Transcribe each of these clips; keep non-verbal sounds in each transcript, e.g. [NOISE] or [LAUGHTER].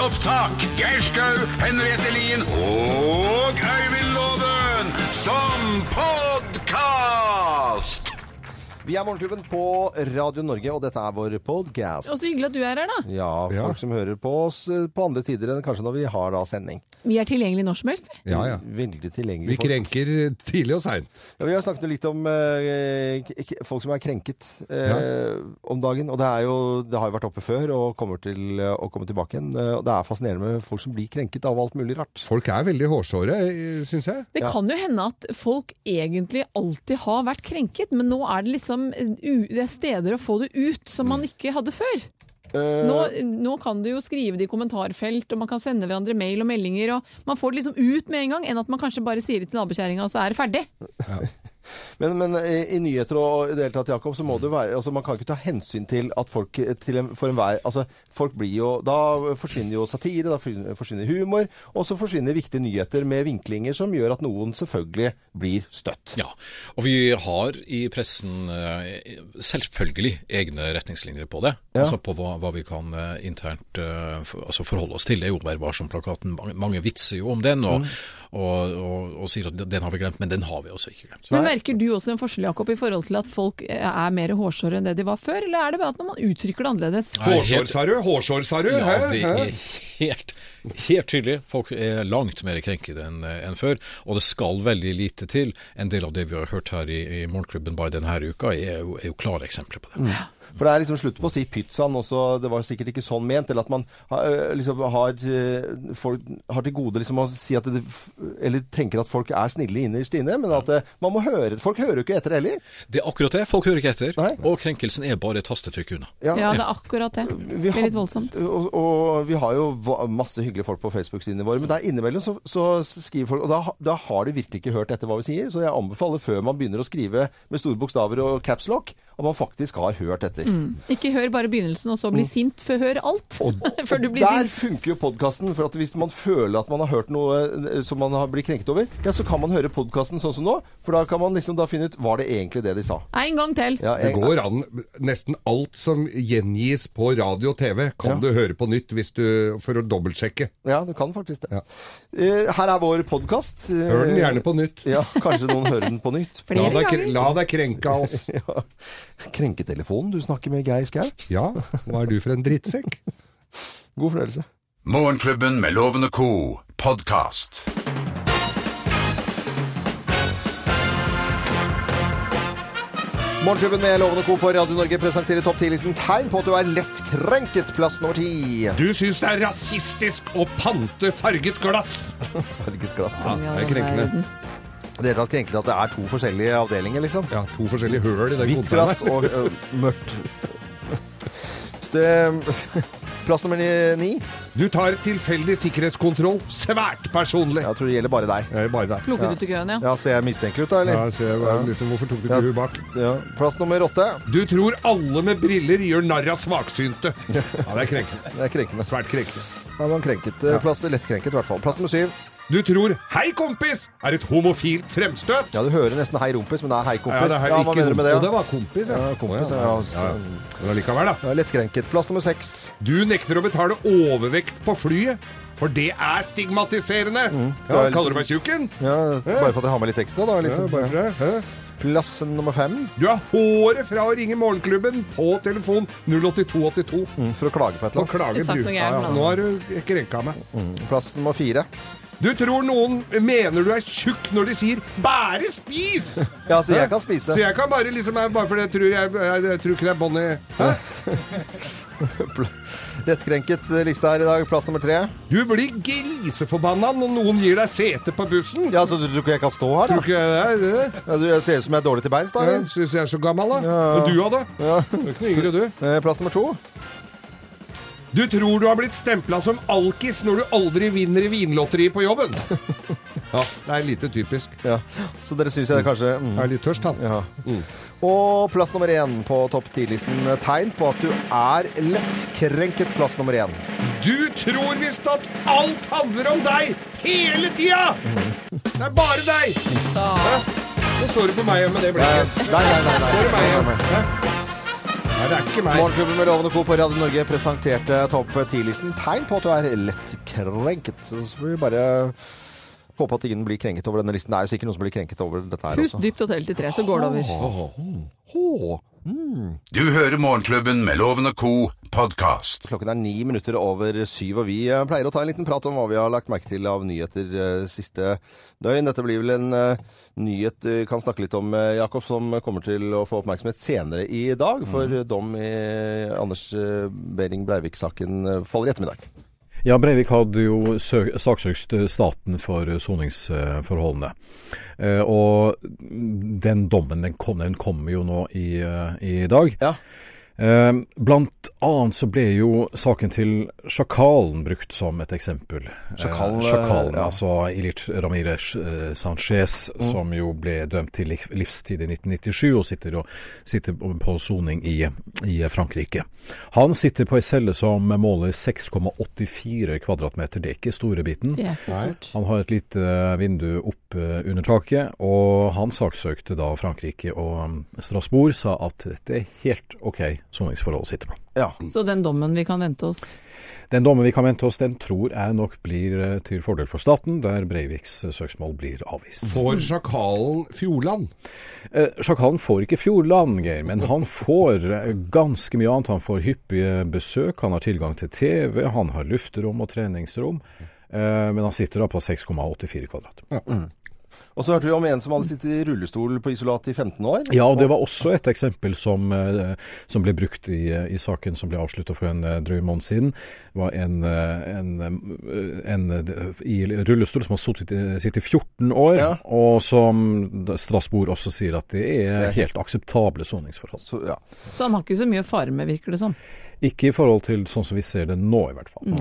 opptak. Geir Skau, Henriette Lien og Øyvind Loven som podkast! Vi er Morgenklubben på Radio Norge, og dette er vår podcast. Og så hyggelig at du er her, da. Ja, folk Ja. som hører på oss eh, på andre tider enn kanskje når vi har da sending. Vi er tilgjengelige når som helst. vi. Ja, ja. Veldig tilgjengelig. Vi folk. krenker tidlig og seint. Ja, vi har snakket litt om eh, k- k- folk som er krenket eh, om dagen. Og det, er jo, det har jo vært oppe før og kommer til eh, å komme tilbake igjen. Eh, og det er fascinerende med folk som blir krenket av alt mulig rart. Folk er veldig hårsåre, syns jeg. Det Ja. kan jo hende at folk egentlig alltid har vært krenket, men nå er det liksom u- det er steder å få det ut som man ikke hadde før. Eh, Nå, nå kan du jo skrive det i kommentarfelt, og man kan sende hverandre mail og meldinger, og man får det liksom ut med en gang, enn at man kanskje bare sier det til nabokjerringa, og så er det ferdig. Men, men i, i nyheter og i det hele tatt, Jakob, så må det jo være altså, Man kan ikke ta hensyn til at folk eh, til en, for enhver Altså, folk blir jo Da forsvinner jo satire, da forsvinner- forsvinner humor, og så forsvinner viktige nyheter med vinklinger som gjør at noen selvfølgelig blir støtt. Ja, og vi har i pressen eh, selvfølgelig egne retningslinjer på det. Ja. Altså på hva, hva vi kan eh, internt eh, for, altså forholde oss til. Det er jo Vær varsom-plakaten. Mange, mange vitser jo om den, og, og, og, og sier at den har vi glemt, men den har vi altså ikke glemt. Men merker du også en forskjell, Jakob, i forhold til at folk eh, er mer hårsåre enn det de var før, eller er det bare at man uttrykker det annerledes? Nei, helt- sa du? Hårsår, sa du? Ja, Hæ? det Hæ? er helt, helt tydelig. Folk er langt mer krenkede enn eh, enn før, og det skal veldig lite til. En del av det vi har hørt her i, i Morgenklubben bare denne uka, er jo, er jo klare eksempler på det. For det er liksom slutt på å si pizzaen også, det var sikkert ikke sånn ment, eller at man har, øh, liksom har, øh, folk, har til gode liksom å si at det, Eller tenker at folk er snille innerst inne, men at øh, man må høre Folk hører jo ikke etter heller. Det er akkurat det. Folk hører ikke etter. Nei. Og krenkelsen er bare et tastetrykk unna. Ja, det er akkurat det. Det er litt voldsomt. Og, og vi har jo va- masse hyggelige folk på Facebook-sidene våre, men der innimellom så, så skriver folk Og da, ha- da har de virkelig ikke hørt etter hva vi sier, så jeg anbefaler før man begynner å skrive med store bokstaver og caps lock, at man faktisk har hørt etter. Ikke hør bare begynnelsen og så bli sint, før hør alt. [LAUGHS] Før du blir Der sint. funker jo podkasten. For at hvis man føler at man har hørt noe eh, som man har blitt krenket over, ja, så kan man høre podkasten sånn som nå. For da kan man liksom da finne ut Var det egentlig det de sa? En gang til. Ja, Det jeg- går an. Nesten alt som gjengis på radio og TV, kan du høre på nytt hvis du, for å dobbeltsjekke. ja du kan faktisk det. Ja. Eh, Her er vår podkast. Hør den gjerne på nytt. Ja, kanskje noen hører den på nytt. Flere La deg, ganger. kre- la deg krenke av oss. [LAUGHS] Ja. Krenketelefonen, du snakker med Geir Skau. [LAUGHS] Ja, hva er du for en drittsekk? God fornøyelse. Morgenklubben med Loven og co. podkast. Morgenklubben med Lovende Co. på Radio Norge presenterer topp 10-listen tegn på at du er lett krenket. Plass nummer ti. Du syns det er rasistisk å pante farget glass! Farget glass. Ja, det er krenkende. Det er helt krenkende at det er to forskjellige avdelinger, liksom. Ja, to forskjellige høl i den Hvitt konteineren. glass og ø, mørkt. Så det- [LAUGHS] Plass nummer ni- ni. Du tar tilfeldig sikkerhetskontroll svært personlig. Jeg tror det gjelder bare deg. Det er bare deg. Plukket ut i køen, ja. Ja, Ser jeg mistenkelig ut, da? eller? Ja, så jeg var liksom, hvorfor tok du Ja, ikke huet bak? ja. Plass nummer åtte. Du tror alle med briller gjør narr av [LAUGHS] svaksynte. Ja, det er krenkende. Det er krenkende. Svært krenkende. Da er man krenket. Plass, lettkrenket, i hvert fall. Plass nummer syv. Du tror 'hei, kompis' er et homofilt fremstøt. Ja, Du hører nesten 'hei, rumpis', men det er 'hei, kompis'. det er Hva ikke mener du med rom- det? Og det var kompis, ja. Ja, kompis, Å, ja, ja. altså. ja. Men allikevel, da. Ja, lettkrenket. Plass nummer seks. Du nekter å betale overvekt på flyet, for det er stigmatiserende. er Mm. Ja, liksom- kaller du meg tjukken? Ja, bare for at jeg har med litt ekstra, da. sånn. Ja, liksom. bare for det. Hæ? Plass nummer fem. Du er håret fra å ringe Morgenklubben på telefon 08282. Mm. For å klage på et eller Nå annet. klager Jeg sagt du. noe Ja, gærent, ja. da. Nå har du krenka meg. Plass nummer fire. Du tror noen mener du er tjukk når de sier 'bare spis'! Ja, så jeg kan Så spise. jeg kan bare liksom jeg- Bare fordi jeg tror, jeg, jeg, jeg tror ikke det er bånd i Hæ? Lettkrenket eh, liste her i dag. Plass nummer tre. Du blir griseforbanna når noen gir deg sete på bussen. Ja, Så du tror ikke jeg kan stå her, da? Tror ikke jeg det er det? Ja, du jeg ser ut som jeg er dårlig til beins, da? eller? Jeg syns jeg er så gammel, da. Ja, ja. Og du òg, da. Du er ikke noe yngre, du. Eh, Plass nummer to. Du tror du har blitt stempla som alkis når du aldri vinner i vinlotteriet på jobben. Ja, det er lite typisk. Ja. Så dere syns jeg kanskje mm. Jeg er litt tørst, han. ja. Og plass nummer én på topp ti-listen. Tegn på at du er lettkrenket. Plass nummer én. Du tror visst at alt handler om deg hele tida! Det er bare deg! Hæ? Nå så du på meg, men det ble Eh, ikke. Nei, nei, nei. nei. Bare meg. nei, nei. Hæ? Nei, det er ikke meg. Morgenklubben med Lovende Co. på Radio Norge presenterte topp 10-listen tegn på at du er lett krenket. Så får vi bare håpe at ingen blir krenket over denne listen. Det er jo sikkert noen som blir krenket over dette her Pust [LAUGHS] også. dypt og tell til tre, så går det over. Åh, Du hører Morgenklubben med Loven og Co. podkast. Klokken er ni minutter over syv, og vi eh, pleier å ta en liten prat om hva vi har lagt merke til av nyheter eh, siste døgn. Dette blir vel en eh, nyhet du kan snakke litt om, eh, Jakob, som kommer til å få oppmerksomhet senere i dag. For eh, dom i Anders eh, Behring Breivik-saken eh, faller i ettermiddag. Ja, Breivik hadde jo sø- saksøkt staten for eh, soningsforholdene. Eh, Og den dommen den kom, den kom jo nå i, eh, i dag. Ja. Eh, Blant annet så ble jo saken til Sjakalen brukt som et eksempel. Eh, Sjakal, eh, Sjakalen, ja. altså Ilich Ramirez eh, Sanchez, som jo ble dømt til liv- livstid i 1997 og sitter, og, sitter på soning i, i Frankrike. Han sitter på ei celle som måler 6,84 kvadratmeter, det er ikke store biten. Det er for stort. Han har et lite vindu opp eh, under taket, og han saksøkte da Frankrike og mm, Strasbourg, sa at dette er helt ok soningsforhold å sitte på. Ja. Så den dommen vi kan vente oss Den dommen vi kan vente oss, den tror jeg nok blir eh, til fordel for staten, der Breiviks eh, søksmål blir avvist. For sjakalen Fjordland. Eh, Sjakalen får ikke Fjordland, Geir, men han får eh, ganske mye annet. Han får hyppige besøk, han har tilgang til TV, han har lufterom og treningsrom. eh, Men han sitter da på 6,84 kvadrat. Og så hørte vi om en som hadde sittet i rullestol på isolat i 15 år. Ja, og det var også et eksempel som, eh, som ble brukt i, eh, i saken som ble avslutta for en eh, drøy måned siden. Det var en, eh, en, eh, en eh, i rullestol som har sittet, i- sittet i 14 år, Ja. og som da Strasbourg også sier at det er helt akseptable soningsforhold. Så, ja. Så han har ikke så mye å fare med, virker det som. Ikke i forhold til sånn som vi ser det nå, i hvert fall.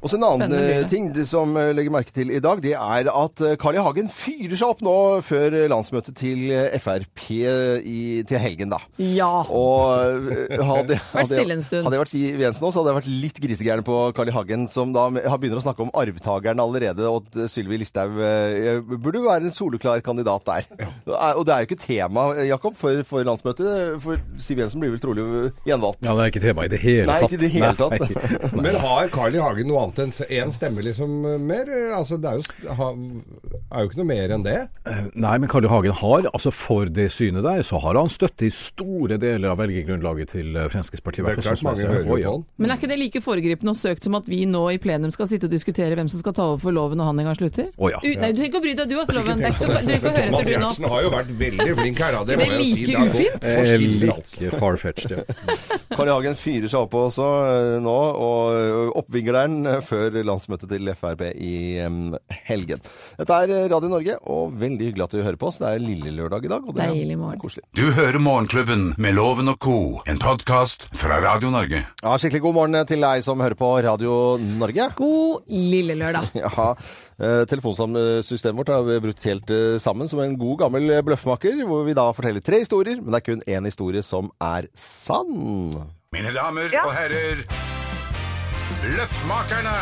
Og så en annen Spennende eh, mye. ting det som eh, legger merke til i dag, det er at eh, Carl I. Hagen fyrer seg opp nå før eh, landsmøtet til eh, Frp i, til helgen, da. Ja. Og eh, hadde, hadde, stille en stund. hadde jeg vært Siv Jensen nå, så hadde jeg vært litt grisegæren på Carl I. Hagen, som da me- han begynner å snakke om arvtakeren allerede, og at eh, Sylvi Listhaug eh, burde jo være en soleklar kandidat der. Eh, Og det er jo ikke tema, eh, Jakob, for, for landsmøtet, for Siv Jensen blir vel trolig eh, gjenvalgt. Ja, det er ikke tema i det hele Nei, tatt. ikke i det hele tatt. ikke- Men har Carl I. Hagen noe annet enn én stemme liksom eh, mer? Eh, Altså, det er jo, s- ha, er jo ikke noe mer enn det. Eh, Nei, men Karl I. Hagen har, altså for det synet der, så har han støtte i store deler av velgergrunnlaget til eh, Fremskrittspartiet. i Det hvert er fall klart sånn mange som jeg ser det. hører jo Å, på ja. han. Men er ikke det like foregripende og søkt som at vi nå i plenum skal sitte og diskutere hvem som skal ta over for loven når han en gang slutter? Å ja. U nei, du trenger ikke å bry deg, du også, loven. Det er ikke så, du får høre Thomas etter du Giertsen nå. har jo vært veldig flink her, da. Det må Men jeg like jo si. Det har gått ufint? for Eh, skinner, altså. Like farfetched, ja. Carl I. Hagen fyrer seg opp også eh, nå, og oppvingler den eh, før landsmøtet til Frp i em, helgen. Dette er eh, Radio Norge, og veldig hyggelig at du hører på oss. Det er lille lørdag i dag, og det Deilig morgen. er koselig. Du hører Morgenklubben med Loven og Co., en podkast fra Radio Norge. Ja, skikkelig god morgen eh, til deg som hører på Radio Norge. God lille lørdag. Ja, eh, Telefonsystemet vårt har vi brutt helt eh, sammen som en god gammel eh, bløffmaker, hvor vi da forteller tre historier, men det er kun én historie som er sann. Mine damer og herrer, Løffmakerne!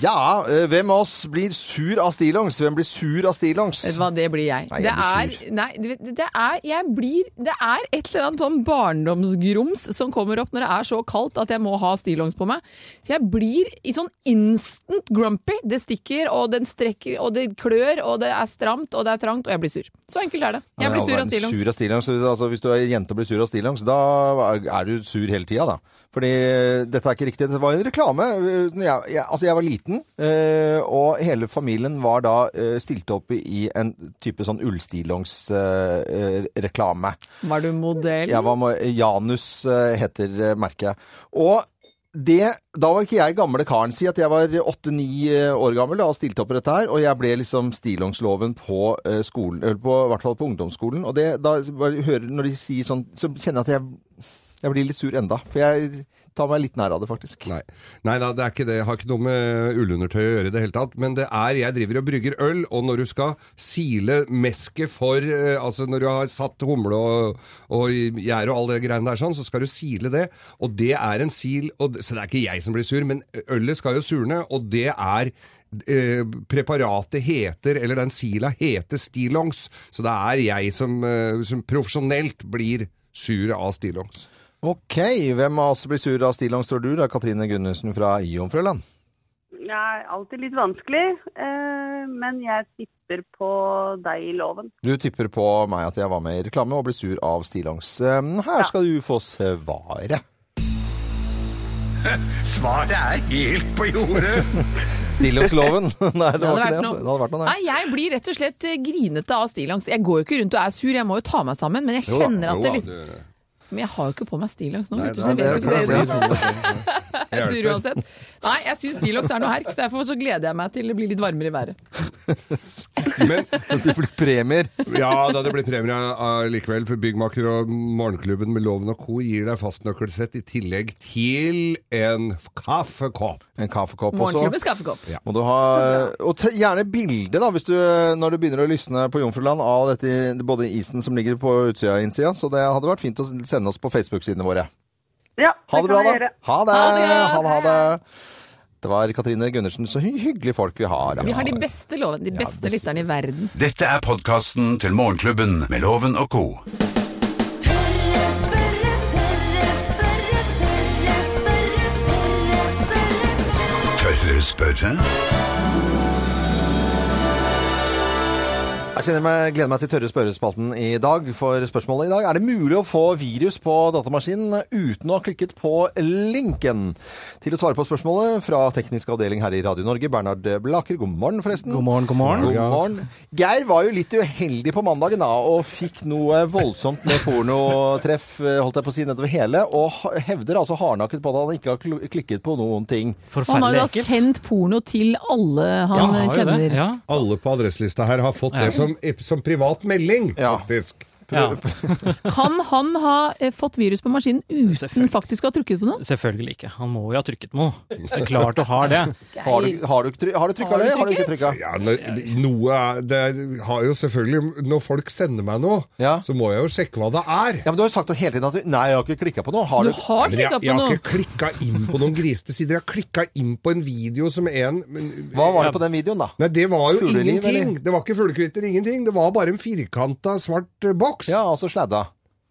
Ja, eh, hvem av oss blir sur av stillongs? Hvem blir sur av stillongs? Vet du hva, det blir jeg. Nei, jeg det blir er, sur. nei, du vet, det er Jeg blir Det er et eller annet sånn barndomsgrums som kommer opp når det er så kaldt at jeg må ha stillongs på meg. Så jeg blir i sånn instant grumpy. Det stikker, og den strekker, og det klør, og det er stramt, og det er trangt, og jeg blir sur. Så enkelt er det. Jeg Nei, blir all sur av verden, stillongs. Sur av stillongs. Altså, hvis du er jente og blir sur av stillongs, da er du sur hele tida, da. Fordi eh, dette er ikke riktig. Det var en reklame. eh, når Jeg, jeg, altså, jeg var liten, eh, og hele familien var da eh, stilt opp i en type sånn eh, ullstillongs-reklame. Var du modell? Jeg var med- Janus eh, heter eh, merket. Og det, da var ikke jeg gamle karen. Si at jeg var åtte-ni eh, år gammel da, og stilte opp på dette her. Og jeg ble liksom stillongsloven på eh, skolen, eller på, i hvert fall på ungdomsskolen. Og det, da bare hører, når de sier sånn, så kjenner jeg at jeg, jeg blir litt sur enda. For jeg tar meg litt nær av det, faktisk. Nei, Nei da, det er ikke det. Jeg har ikke noe med ullundertøy å gjøre i det hele tatt. Men det er Jeg driver og brygger øl, og når du skal sile mesket for eh, Altså når du har satt humle og, og gjær og all det greiene der sånn, så skal du sile det. Og det er en sil, og, det- så det er ikke jeg som blir sur, men ølet skal jo surne, og det er Eh, preparatet heter, eller den sila heter stillongs, så det er jeg som, eh, som profesjonelt blir sur av stillongs. Ok, hvem av oss blir sur av stillongs, tror du? Det er Katrine Gunnarsen fra Jomfrøland. Det er alltid litt vanskelig, eh, men jeg tipper på deg i loven. Du tipper på meg at jeg var med i reklame og ble sur av stillongs. Eh, Her skal du få svaret. [LAUGHS] Svaret er helt på [LAUGHS] jordet. Stillongsloven. [LAUGHS] Nei, det, var ikke det. Altså. Det hadde vært noe, Nei, jeg blir rett og slett eh, grinete av stillongs. Jeg går jo ikke rundt og er sur, jeg må jo ta meg sammen. Men jeg da, kjenner at det litt det- [LAUGHS] Men jeg har jo ikke på meg stillongs nå, Nei, vet du. nei, Så jeg det vet jo kan ikke jeg det er altså. si. [LAUGHS] Jeg er sur Hjelper. uansett. Nei, jeg syns stillongs er noe herk. Derfor så gleder jeg meg til det blir litt varmere i været. Men nei. Det blir premier. ja, da det blir premie eh, likevel for Byggmaker og Morgenklubben med Loven og Co. gir deg fastnøkkelsett i tillegg til en kaffekopp. En kaffekopp også. Morgenklubbens kaffekopp. Ja. Må du ha, og t gjerne bilde, da, hvis du, eh, når du begynner å lysne på Jomfruland av dette, både isen som ligger på utsida og innsida. Så det hadde vært fint å sende oss på Facebook-sidene våre. Ja, Ha det bra, kan jeg da. gjøre. Ha det. Ha det. Ha det, ha det. Det var Katrine Gundersen. Så hy hyggelige folk vi har. da. Vi har de beste lovene, de beste beste. lytterne i verden. Dette er podkasten til Morgenklubben med Loven og co. Tørre spørre, tørre spørre, tørre spørre, tørre spørre. Tørre spørre? Jeg kjenner meg, gleder meg til tørre spørrespalten i dag, for spørsmålet i dag er det mulig å få virus på datamaskinen uten å ha klikket på linken? Til å svare på spørsmålet fra teknisk avdeling her i Radio Norge, Bernhard Blaker. God morgen, forresten. God morgen, god morgen. God morgen. Geir var jo litt uheldig på mandagen da, og fikk noe voldsomt med pornotreff, holdt jeg på å si, nedover hele, og ha- hevder altså hardnakket på at han ikke har kl- klikket på noen ting. Han har Forferdelig jo da ekkelt. sendt porno til alle Ja, han han har jo det. kjenner. Ja. Alle på adresselista her har fått det som, som privat melding, Ja. faktisk. Ja. Kan han ha eh, fått virus på maskinen uten Selvfølgelig. faktisk å ha trukket på noe? Selvfølgelig ikke. Han må jo ha trykket noe. Det er klart du har [LAUGHS] det. Har du, har du, try- har du trykket Har du det? Har du trykket? ikke trykket? Ja, når- noe er, det er- har jo selvfølgelig Når folk sender meg noe, Ja. så må jeg jo sjekke hva det er. Ja, men du har jo sagt hele tiden at du, nei, jeg har ikke klikket på noe. Har Du du, har Men jeg, trykket på jeg har noe. ikke klikka inn på noen grisete sider. Jeg har klikka inn på en video som en men- hva var det på den videoen da? Nei, det var jo Fugleliv, ingenting. eller? Det var ikke fuglekvitter, ingenting. Det var bare en firkanta, svart eh, boks. Ja, altså sladda.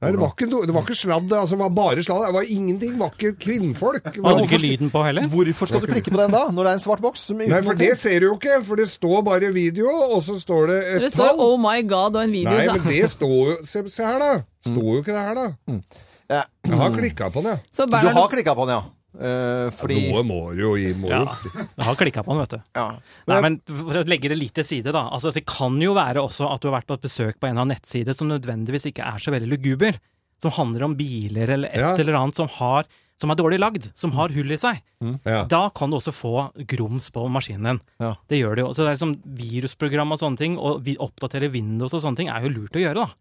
Nei, det var ikke, no- det var ikke sladd, altså, det var bare sladd. Det var ingenting. Det var ikke kvinnfolk. Det Hadde var- du ikke lyden på heller? Hvorfor skal du klikke på den da, når det er en svart boks? Som er Nei, uten for noe til? det ser du jo ikke, for det står bare video, og så står det et Det står tall. 'Oh my God' og en video. Nei, så- men det står jo Se, se her, da. Står jo ikke det her, da. Mm. Ja. Jeg har klikka på den, jeg. Så Du har Bernhard, klikket på den, ja. Eh, fordi... Noe må du jo gi. Må Ja. jo. Jeg har klikka på den, vet du. Ja. Nei, men for å legge det litt til side, da. Altså, det kan jo være også at du har vært på et besøk på en av nettsider som nødvendigvis ikke er så veldig luguber. Som handler om biler eller et Ja. eller annet som, har, som er dårlig lagd, som har hull i seg. Ja. Da kan du også få grums på maskinen. Ja. Det gjør det jo. Så det er liksom virusprogram og sånne ting, og vi oppdatere Windows og sånne ting, er jo lurt å gjøre, da.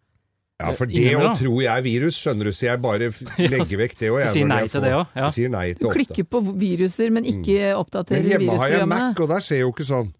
ja, for det Ingen òg bra. tror jeg er virus, skjønner du, så jeg bare f- legger vekk det òg. Du [LAUGHS] sier nei til det også, ja. Jeg sier nei du til åtte. klikker på viruser, men ikke oppdaterer Men hjemme har jeg Mac, virusprogrammene. og der skjer jo ikke sånn.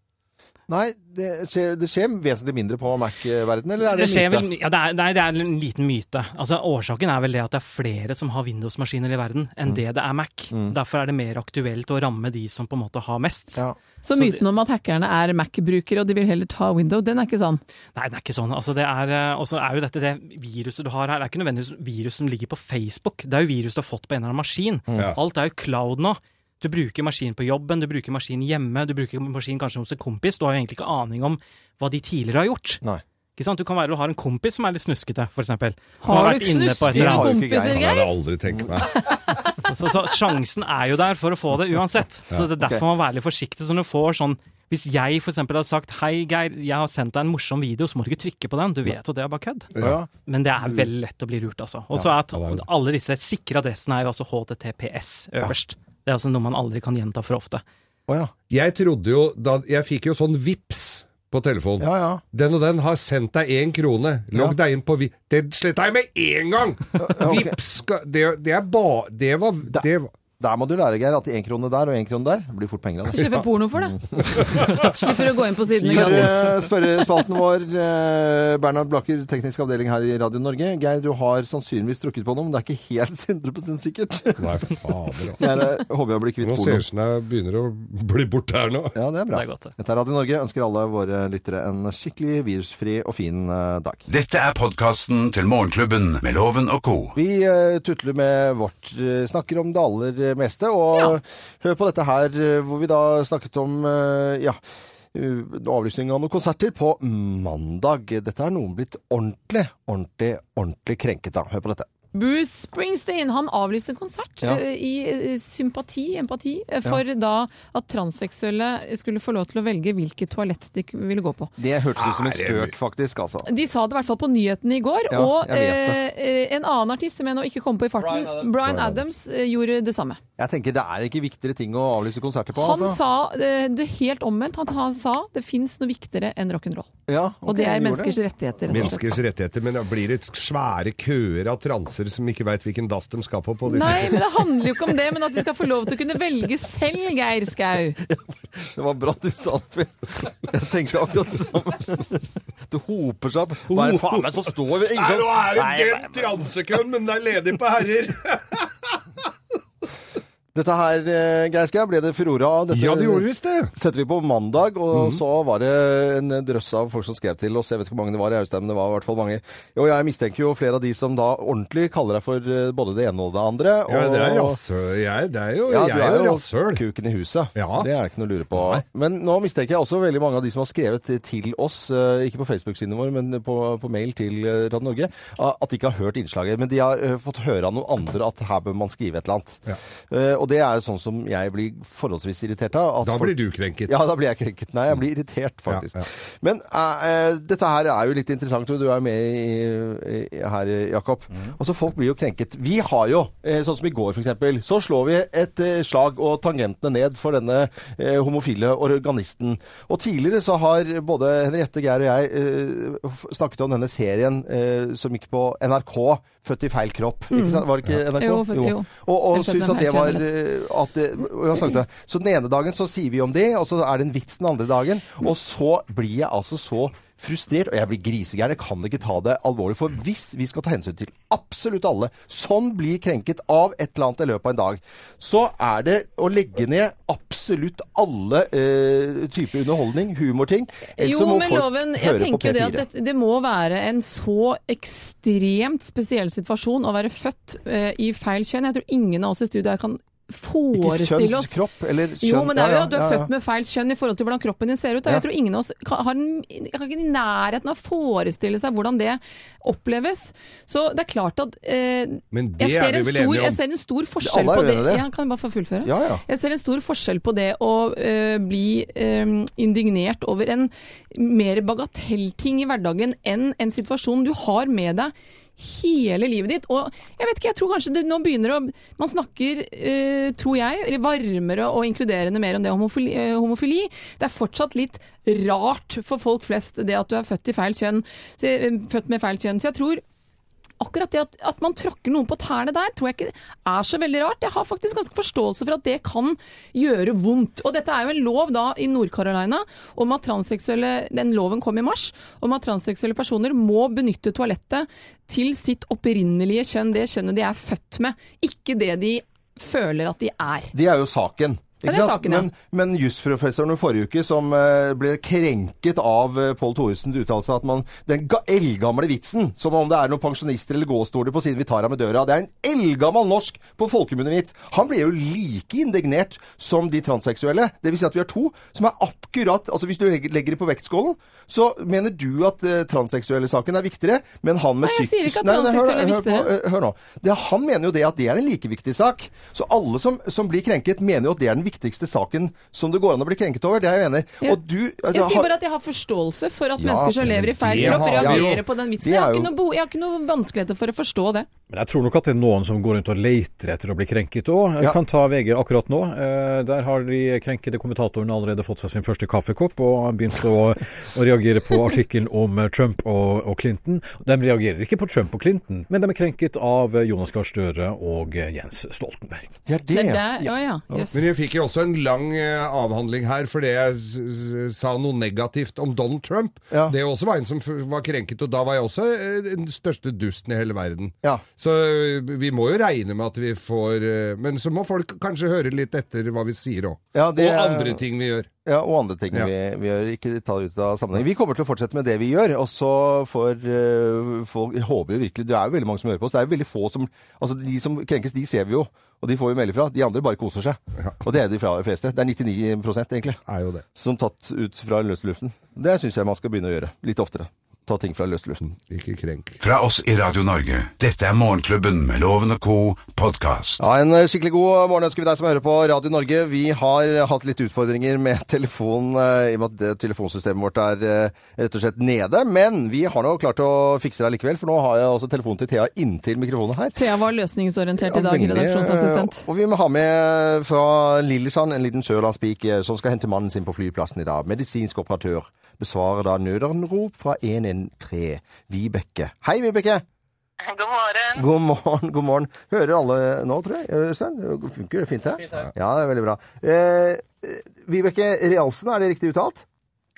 Nei, det skjer, det skjer vesentlig mindre på Mac-verdenen, eller er det, Det, skjer myte? vel, ja, det, er, nei, det er en liten myte. Altså, årsaken er vel det at det er flere som har Windows-maskiner i verden enn det det er Mac. Derfor er det mer aktuelt å ramme de som på en måte har mest. Ja. Så myten om at hackerne er Mac-brukere og de vil heller ta Window, den er ikke sann. Nei, det er ikke sånn. Altså, det er, eh, og så er jo dette det viruset du har her, det er ikke nødvendigvis virus som ligger på Facebook. Det er jo virus du har fått på en eller annen maskin. Ja. Alt er jo cloud nå. Du bruker maskin på jobben, du bruker maskin hjemme, du bruker maskin kanskje hos en kompis. Du har jo egentlig ikke aning om hva de tidligere har gjort. Nei. Ikke sant? Du kan være du har en kompis som er litt snuskete, f.eks. Har du ikke eller snustige annet. Det kompiser, Det har Geir? jeg aldri tenkt meg. Så, så sjansen er jo der for å få det uansett. Så det er ok. derfor man må være litt forsiktig. Så når du får sånn Hvis jeg f.eks. hadde sagt 'Hei, Geir, jeg har sendt deg en morsom video', så må du ikke trykke på den. Du vet jo det er bare kødd. Ja. Men det er veldig lett å bli lurt, altså. Og så er t- Mm. det er det. alle disse sikre adressene er jo altså HTTPS øverst. Det er altså noe man aldri kan gjenta for ofte. Å ja. Jeg trodde jo da Jeg fikk jo sånn vips på telefonen. Ja, ja. Den og den har sendt deg én krone. Logg deg inn på vi Det sletta jeg med én gang! Vips! skal- Det, det er ba... Det var, det var Der må du lære, Geir, at én krone der og én krone der blir fort penger av det. Slipper porno for det. Mm. [LAUGHS] Slipper å gå inn på sidene gratis. Spørre- Spørrespalten vår, eh, Bernhard Blakker, teknisk avdeling her i Radio Norge. Geir, du har sannsynligvis drukket på noe, men det er ikke helt [LAUGHS] 100 sikkert. Nei, fader, altså. Jeg eh, håper jeg blir kvitt Nå porno. ser det ut som jeg begynner å bli borte her nå. Ja, det er bra. Det er godt, det. Dette er Radio Norge. Ønsker alle våre lyttere en skikkelig virusfri og fin eh, dag. Dette er podkasten til Morgenklubben med Loven og co. Vi eh, tutler med vårt, eh, snakker om det aller meste, og hør på dette her eh, hvor vi da snakket om eh, ja, eh, avlysning av noen konserter på mandag. Dette er noen blitt ordentlig, ordentlig, ordentlig krenket av. Hør på dette. Bruce Springsteen han avlyste en konsert Ja. eh, i eh, sympati, empati, eh, for da at transseksuelle skulle få lov til å velge hvilket toalett de k- ville gå på. Det hørtes ut som en Er det mye? spøk, faktisk, altså. De sa det i hvert fall på nyhetene i går, Ja, og jeg vet eh, eh, en annen artist som jeg nå ikke kom på i farten, Brian Adams, Bryan eh, gjorde det samme. Jeg tenker det er ikke viktigere ting å avlyse konserter på, Han altså. sa eh, det helt omvendt. Han, han sa det fins noe viktigere enn rock'n'roll. Ja, Og ok, det er han gjorde menneskers rettigheter. Rett og slett. Menneskers rettigheter, men det blir det svære køer av transer som ikke veit hvilken dass de skal på? på disse. Nei, men det handler jo ikke om det, men at de skal få lov til å kunne velge selv, Geir Skau. Det var bra du sa det, for jeg tenkte akkurat det samme. Det hoper seg opp. Hva er det faen meg som står ved Nei, ingen nå er Nei, det nei, den transekøen, men den er ledig på herrer! Dette her, eh, Geir Skau, ble det furore av. Dette [LAUGHS] Ja, det gjorde Mhm. visst det! setter vi på mandag, og så var det en drøss av folk som skrev til oss. Jeg vet ikke hvor mange det var, i Austein, men det var i hvert fall mange. Og jeg mistenker jo flere av de som da ordentlig kaller deg for eh, både det ene og det andre. Og, Ja, det er rasshøl. Jeg, det er jo, Ja, du jeg er er jo jo rasshøl. kuken i huset. Ja. Det er det ikke noe å lure på. Men nå mistenker jeg også veldig mange av de som har skrevet til oss, eh, ikke på Facebook-siden vår, men på, på mail til eh, Radio Norge, a- at de ikke har hørt innslaget. Men de har eh, fått høre av noen andre at her bør man skrive et eller annet. Eh, Og det er jo sånn som jeg blir forholdsvis irritert av. at Da folk- blir du krenket. ja, da blir jeg krenket. Nei, jeg blir irritert, faktisk. Ja, ja. Men eh, eh, dette her er jo litt interessant, og du er med i, i, her, eh, Jakob. Mhm. Altså, folk blir jo krenket. Vi har jo, eh, sånn som i går f.eks., så slår vi et eh, slag og tangentene ned for denne eh, homofile organisten. Og tidligere så har både Henriette, Geir og jeg eh, f- snakket om denne serien eh, som gikk på NRK, 'Født i feil kropp'. Mm. Ikke sant? Var det ikke NRK? Jo, født- jo. Og, og Jeg skjønner, syns at det jeg var skjønner. eh, at det, og jeg har sagt det. Så den ene dagen så sier vi om det, og så er det en vits den andre dagen. Og så blir jeg altså så frustrert, og jeg blir grisegæren. Jeg kan ikke ta det alvorlig. For hvis vi skal ta hensyn til absolutt alle som blir krenket av et eller annet i løpet av en dag, så er det å legge ned absolutt alle eh, typer underholdning, humorting. Ellers Jo, så må men folk loven, jeg høre på tenker jo det at P4. det, det må være en så ekstremt spesiell situasjon å være født eh, i feil kjønn. Jeg tror ingen av oss i studiet her kan Ikke forestille kjønn, oss kropp eller kjønn. Jo, men det er jo Ja, ja, at du er ja, ja. født med feil kjønn i forhold til hvordan kroppen din ser ut. Da. Ja. Jeg tror ingen av oss kan, har en, kan ikke i nærheten av å forestille seg hvordan det oppleves. Så det er klart at eh, Men det jeg, er ser vi en vel stor, enige om. jeg ser en stor forskjell Alle er på det. uenige i det. Ja, kan jeg bare få fullføre? Ja, ja. Jeg ser en stor forskjell på det å eh, bli eh, indignert over en mer bagatellting i hverdagen enn en situasjon du har med deg hele livet ditt. Og jeg vet ikke, jeg tror kanskje det nå begynner å Man snakker, eh, tror jeg, eller varmere og inkluderende mer om det homofili, eh, homofili. Det er fortsatt litt rart for folk flest det at du er født i feil kjønn, så, eh, født med feil kjønn. Så jeg tror akkurat det at, at man tråkker noen på tærne der, tror jeg ikke er så veldig rart. Jeg har faktisk ganske forståelse for at det kan gjøre vondt. Og dette er jo en lov da i Nord-Carolina om at transseksuelle Den loven kom i mars. Om at transseksuelle personer må benytte toalettet til sitt opprinnelige kjønn. Det kjønnet de er født med, ikke det de føler at de er. Det er jo saken. Ja, det er saken, ja. Men, men jusprofessoren i forrige uke som eh, ble krenket av uh, Pål Thoresens uttalelse at man Den ga eldgamle vitsen, som om det er noen pensjonister eller gåstoler på siden vi tar av med døra Det er en eldgammel norsk på folkemunnevits! Han ble jo like indignert som de transseksuelle. Det vil si at vi har to som er akkurat Altså hvis du legger legger det på vektskålen, så mener du at eh, transseksuelle saken er viktigere, men han med Nei, psyk- jeg sier ikke at Nei, nei, hør transseksuelle er da, hør på, eh, viktigere. hør nå. Det, han mener jo det at det er en like viktig sak. Så alle som, som blir krenket, mener jo at det er den viktigste saken som det går an å bli krenket over. Det er jeg enig i. Ja. Og du altså, Jeg sier bare at jeg har forståelse for at Ja, mennesker som lever i feil det kropp, har jeg reagerer jo. på den vitsen. Det Jeg er har, jo- ikke noe, bo- jeg har ikke noe vanskeligheter for å forstå det. Men jeg tror nok at det er noen som går rundt og leter etter å bli krenket òg. Jeg Ja. kan ta VG akkurat nå. Eh, Der har de krenkede kommentatorene allerede fått seg sin første kaffekopp og begynt å, å reagere på artikkelen om eh, Trump og, og Clinton. De reagerer ikke på Trump og Clinton, men de er krenket av eh, Jonas Gahr Støre og eh, Jens Stoltenberg. Det er det. Men det er, å ja, jøss. Men jeg fikk jo også en lang eh, avhandling her fordi jeg s- s- sa noe negativt om Donald Trump. Ja. Det også var en som f var krenket, og da var jeg også eh, den største dusten i hele verden. Ja. Så eh, vi må jo regne med at vi får eh, Men så må folk kanskje høre litt etter hva vi sier òg. Ja, det og er- andre ting vi gjør. Ja, og andre ting Ja. vi, vi gjør. Ikke ta det ut av sammenheng. Vi kommer til å fortsette med det vi gjør, og så får eh, folk Jeg håper jo virkelig Det er jo veldig mange som hører på oss. Det er jo veldig få som Altså, de som krenkes, de ser vi jo, og de får vi melde fra. De andre bare koser seg. Og det er de fra- fleste. Det er 99 egentlig, Er jo det. som tatt ut fra løs luften. Det syns jeg man skal begynne å gjøre. Litt oftere. Ta ting fra løs luften. Ikke krenk. Fra oss i Radio Norge. Dette er Morgenklubben med Loven og co. podkast. Ja, En eh, skikkelig god morgen ønsker vi deg som hører på Radio Norge. Vi har eh, hatt litt utfordringer med [LAUGHS] telefon, eh, i og med at det telefonsystemet vårt er eh, rett og slett nede. Men vi har nå klart å fikse det likevel, for nå har jeg altså telefonen til Thea inntil mikrofonen her. Thea var løsningsorientert i dag, veldig, redaksjonsassistent. eh, Og vi må ha med fra Lillesand en liten sørlandspik eh, som skal hente mannen sin på flyplassen i dag. Medisinsk operatør besvarer da nødanrop fra 113 Vibeke. Hei, Vibeke! God morgen. God morgen, god morgen. Hører alle nå, tror jeg? Eh, Øystein? Funker det fint her? Ja, det er veldig bra. Eh, eh, Vibeke Realsen, er det riktig uttalt?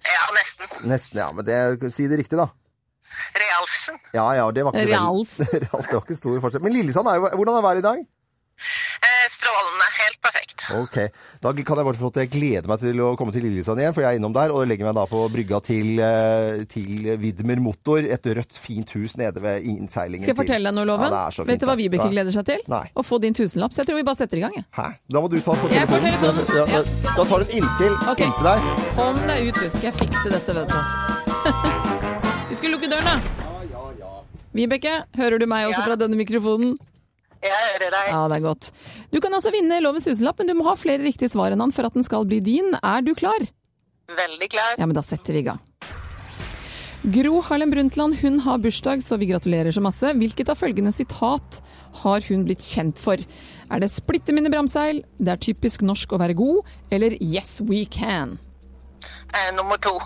Ja, nesten. Nesten, ja. Men det, si det riktig, da. Realsen. Ja, ja, det var ikke så veldig- [LAUGHS] Reals. Reals, det var ikke stor forskjell. Men Lillesand, er jo, hvordan er været i dag? Eh, strålende. Helt perfekt. Ok, Da kan jeg bare få at jeg gleder meg til å komme til Lillesand igjen, for jeg er innom der og legger meg da på brygga til, eh, til Widmer Motor, et rødt, fint hus nede ved innseilingen. Skal jeg fortelle deg noe, Loven? Ja, det er så Vet fint du hva der. Vibeke Ja. gleder seg til? Nei. Å få din tusenlapp. Så jeg tror vi bare setter i gang, jeg. Hæ? Da må du ta få Jeg får telefonen, Ja, ja. ja. Da tar du den inntil, Ok. inntil der. Kom deg ut, du. Skal jeg fikse dette, vet du. [LAUGHS] Vi skulle lukke døren, da. Vibeke, hører du meg også Ja. fra denne mikrofonen? Jeg hører deg. Ja, det er godt. Du kan altså vinne lovens tusenlapp, men du må ha flere riktige svar enn han for at den skal bli din. Er du klar? Veldig klar. Ja, men da setter vi i gang. Gro Harlem Brundtland hun har bursdag, så vi gratulerer så masse. Hvilket av følgende sitat har hun blitt kjent for? Er det 'splitte mine bramseil', 'det er typisk norsk å være god', eller 'yes we can'? Eh, nummer to.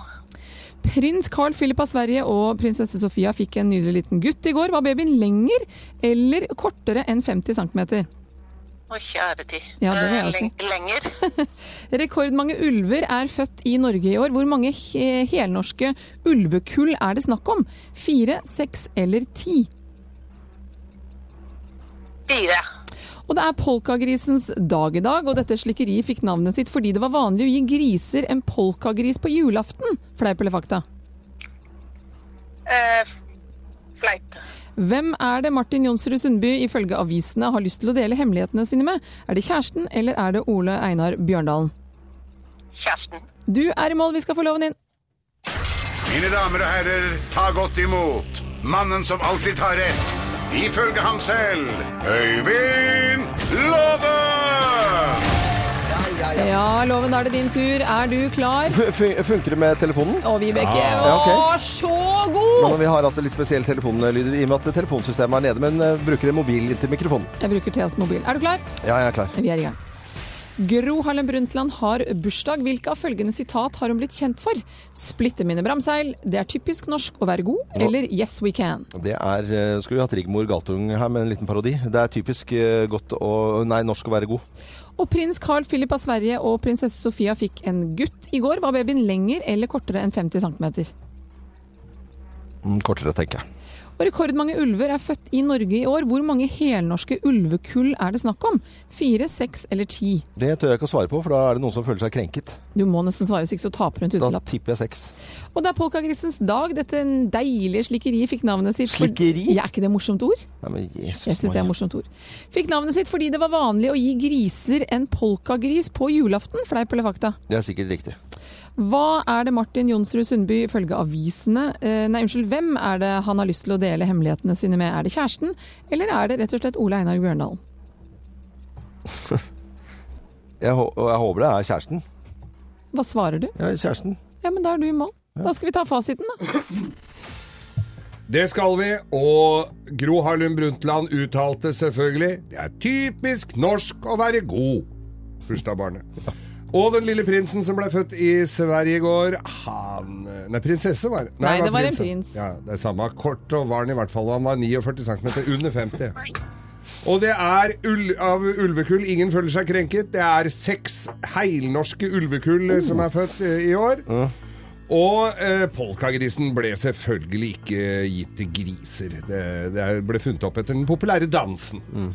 Prins Carl Philip av Sverige og prinsesse Sofia fikk en nydelig liten gutt i går. Var babyen lenger eller kortere enn 50 cm? Å, kjære tid. Ja, det vil jeg Eh, leng- Lenger. Rekordmange ulver er født i Norge i år. Hvor mange he helnorske ulvekull er det snakk om? Fire, seks eller ti? Fire. Og det er polkagrisens dag i dag, og dette slikkeriet fikk navnet sitt fordi det var vanlig å gi griser en polkagris på julaften. Fleip eller fakta? Eh, f- fleip. Hvem er det Martin Jonsrud Sundby ifølge avisene har lyst til å dele hemmelighetene sine med? Er det kjæresten, eller er det Ole Einar Bjørndalen? Kjæresten. Du er i mål, vi skal få loven inn. Mine damer og herrer, ta godt imot mannen som alltid tar rett. Ifølge ham selv Øyvind Låve! Ja, loven, da er det din tur. Er du klar? Fu- fu- Funker det med telefonen? Å, Vibeke, Ah, Ja, ok. å, så god! Men vi har altså litt spesiell telefonlyd i og med at telefonsystemet er nede, men eh, bruker en mobil inntil mikrofonen. Jeg bruker Theas mobil. Er du klar? Ja, jeg er klar. Vi er i gang. Gro Harlem Brundtland har bursdag. Hvilke av følgende sitat har hun blitt kjent for? 'Splitte mine bramseil', 'Det er typisk norsk å være god', eller 'Yes we can'? Det er eh, Skulle vi hatt Rigmor Galtung her med en liten parodi. Det er typisk eh, godt å Nei, norsk å være god. Og prins Carl Philip av Sverige og prinsesse Sofia fikk en gutt i går. Var babyen lenger eller kortere enn 50 cm? Mm, Kortere, tenker jeg. Og rekordmange ulver er født i Norge i år. Hvor mange helnorske ulvekull er det snakk om? Fire, seks eller ti? Det tør jeg ikke å svare på, for da er det noen som føler seg krenket. Du må nesten svare hvis ikke så taper du en Da tusenlapp. tipper jeg seks. Og det er polkagrisens dag. Dette deilige slikkeriet fikk navnet sitt for- Slikkeri? Ja, er ikke det morsomt ord? Nei, men Jesus Jeg syns det er Maria. et morsomt ord. Fikk navnet sitt fordi det var vanlig å gi griser en polkagris på julaften. Fleip eller fakta? Det er sikkert riktig. Hva er det Martin Jonsrud Sundby ifølge avisene eh, Nei, unnskyld, hvem er det han har lyst til å dele hemmelighetene sine med? Er det kjæresten, eller er det rett og slett Ole Einar Bjørndalen? Jeg, hå- og jeg håper det er kjæresten. Hva svarer du? Ja, kjæresten. Ja, men da er du i mål. Da skal vi ta fasiten, da. Det skal vi, og Gro Harlem Brundtland uttalte selvfølgelig Det er typisk norsk å være god. Bursdagsbarnet. Og den lille prinsen som ble født i Sverige i går, han Nei, prinsesse var det. Nei, det var en prinsen. prins. Ja, det er samme. Kort og var han i hvert fall. Han var 49 cm under 50. Og det er ull, av ulvekull ingen føler seg krenket. Det er seks heilnorske ulvekull eh, som er født eh, i år. Og eh, polkagrisen ble selvfølgelig ikke gitt til griser. Det, det ble funnet opp etter den populære dansen. Mm.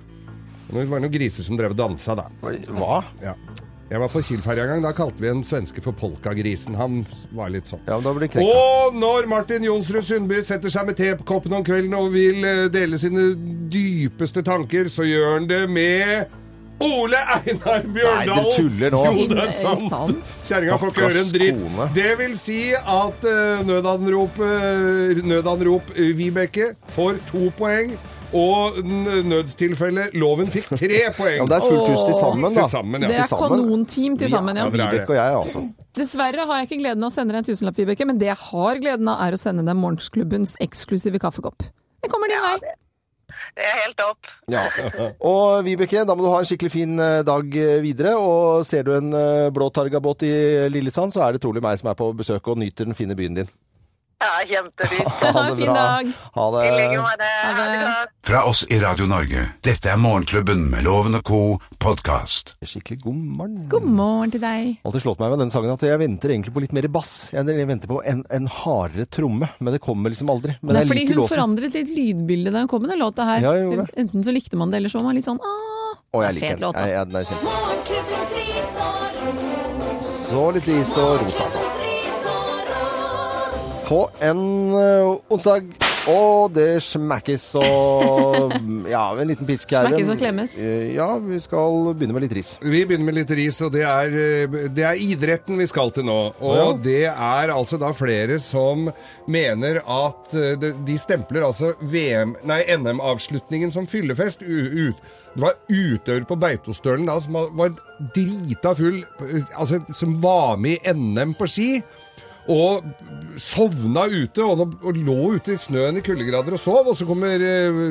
Det var noen griser som drev og dansa, da. Hva? Ja. Jeg var på Kielferja en gang. Da kalte vi en svenske for Polkagrisen. Han var litt sånn. Ja, men da blir det krenka. Og når Martin Jonsrud Sundby setter seg med tekoppen om kvelden og vil eh, dele sine dypeste tanker, så gjør han det med Ole Einar Bjørndalen! Nei, du tuller nå. Jo, det er Er det sant. sant? Kjerringa får ikke høre en dritt. Stakkars kone. Det vil si at eh, nødanrop, eh, nødanrop eh, Vibeke får to poeng, og n- nødstilfelle Loven fikk tre Ja, poeng. men det er fullt hus til sammen, da. Til sammen, ja. Det er Til sammen. kanonteam til sammen, ja. Ja, dere er det. Vibeke og jeg, altså. Dessverre har jeg ikke gleden av å sende deg en tusenlapp, Vibeke, men det jeg har gleden av, er å sende deg Morgensklubbens eksklusive kaffekopp. Det kommer din vei. Det er helt topp. Ja. Og Vibeke, da må du ha en skikkelig fin eh, dag eh, videre. Og ser du en eh, blå targabåt i eh, Lillesand, så er det trolig meg som er på besøk og nyter den fine [LAUGHS] byen din. Ja, kjempefint. Ha Ha en fin dag. Ha det. I like måte. Ha det. det godt. Fra oss i Radio Norge, dette er Morgenklubben med Loven og co. podkast. Skikkelig god morgen. God morgen til deg. Alltid slått meg med den sangen at jeg venter egentlig på litt mer bass. Jeg venter på en, en hardere tromme, men det kommer liksom aldri. Men Det jeg er fordi liker hun låten. forandret litt lydbilde da hun kom med den låta her. Ja, jeg gjorde det. Enten så likte man det, eller så var man litt sånn ah, Å, jeg det er liker fet den. låt, da. Jeg, jeg, den er kjempe. Morgenklubbens ris og ros. Så litt lys og rosa, altså. Morgenklubbens ris og ros. På en ø, onsdag. Og det smekkes og [LAUGHS] Ja, en liten pisk her. Smekkes og klemmes. Eh, Ja, vi skal begynne med litt ris. Vi begynner med litt ris, og det er, eh, det er idretten vi skal til nå. Og det er altså da flere som mener at eh, det- de stempler altså VM, nei, NM-avslutningen som fyllefest. U ut. Det var utøver på Beitostølen da som var drita full, eh, altså som var med i NM på ski. Og sovna ute, og, nå- og lå ute i snøen i kuldegrader og sov. Og så kommer eh,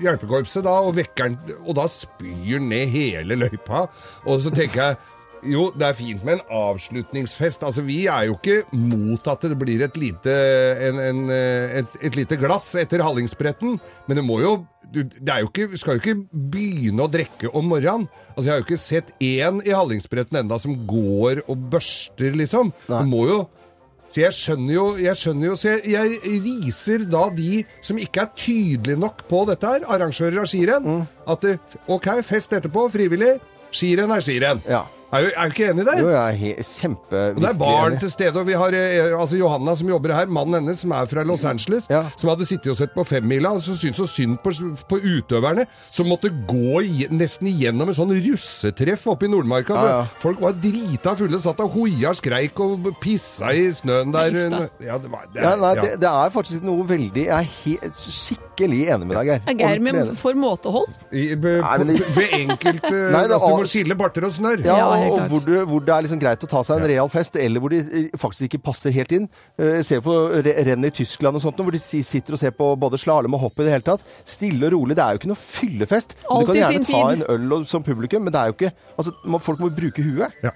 hjelpekorpset da og vekker han, og da spyr han ned hele løypa. Og så tenker jeg jo, det er fint med en avslutningsfest. Altså, Vi er jo ikke mot at det blir et lite, en, en, eh, et, et lite glass etter Hallingsbretten, men det må jo du, det er jo ikke, skal jo ikke begynne å drikke om morgenen. Altså, Jeg har jo ikke sett én i Hallingsbretten enda som går og børster, liksom. Nei. Du må jo så jeg skjønner jo, jeg skjønner jo Så jeg, jeg viser da de som ikke er tydelige nok på dette her, arrangører av skirenn, Mm. at det, OK, fest etterpå, frivillig. Skirenn er skirenn. Ja. Er, du- er du ikke enig i det? Jo, jeg er he kjempe Og det er barn virkelig enig. til stede, og vi har eh, altså Johanna som jobber her, mannen hennes som er fra Los Angeles, Ja. som hadde sittet og sett på femmila, og som syntes så synd på, på utøverne, som måtte gå ig- nesten igjennom en sånn russetreff oppe i Nordmarka. for Ja, ja. Folk var drita fulle, satt og hoia, skreik og pissa i snøen der. Nei, uff Ja, det var, det, Ja, nei, ja. det, det er faktisk noe veldig Jeg er he skikkelig enig med deg, Geir. Er Geir Ordentlig med enig. for måtehold? I, be, Nei, men på- det- Ved enkelte [LAUGHS] Nei, det er altså, Du al- må skille barter og snørr. Ja, Ja, helt og klart. hvor, du, hvor det er liksom greit å ta seg en real fest, eller hvor de eh, faktisk ikke passer helt inn. Eh, Se på re rennet i Tyskland og sånt, hvor de si- sitter og ser på både slalåm og hopp i det hele tatt. Stille og rolig. Det er jo ikke noe fyllefest. Du Alt kan i gjerne sin ta tid. en øl og, som publikum, men det er jo ikke Altså, må, folk må bruke huet. Ja.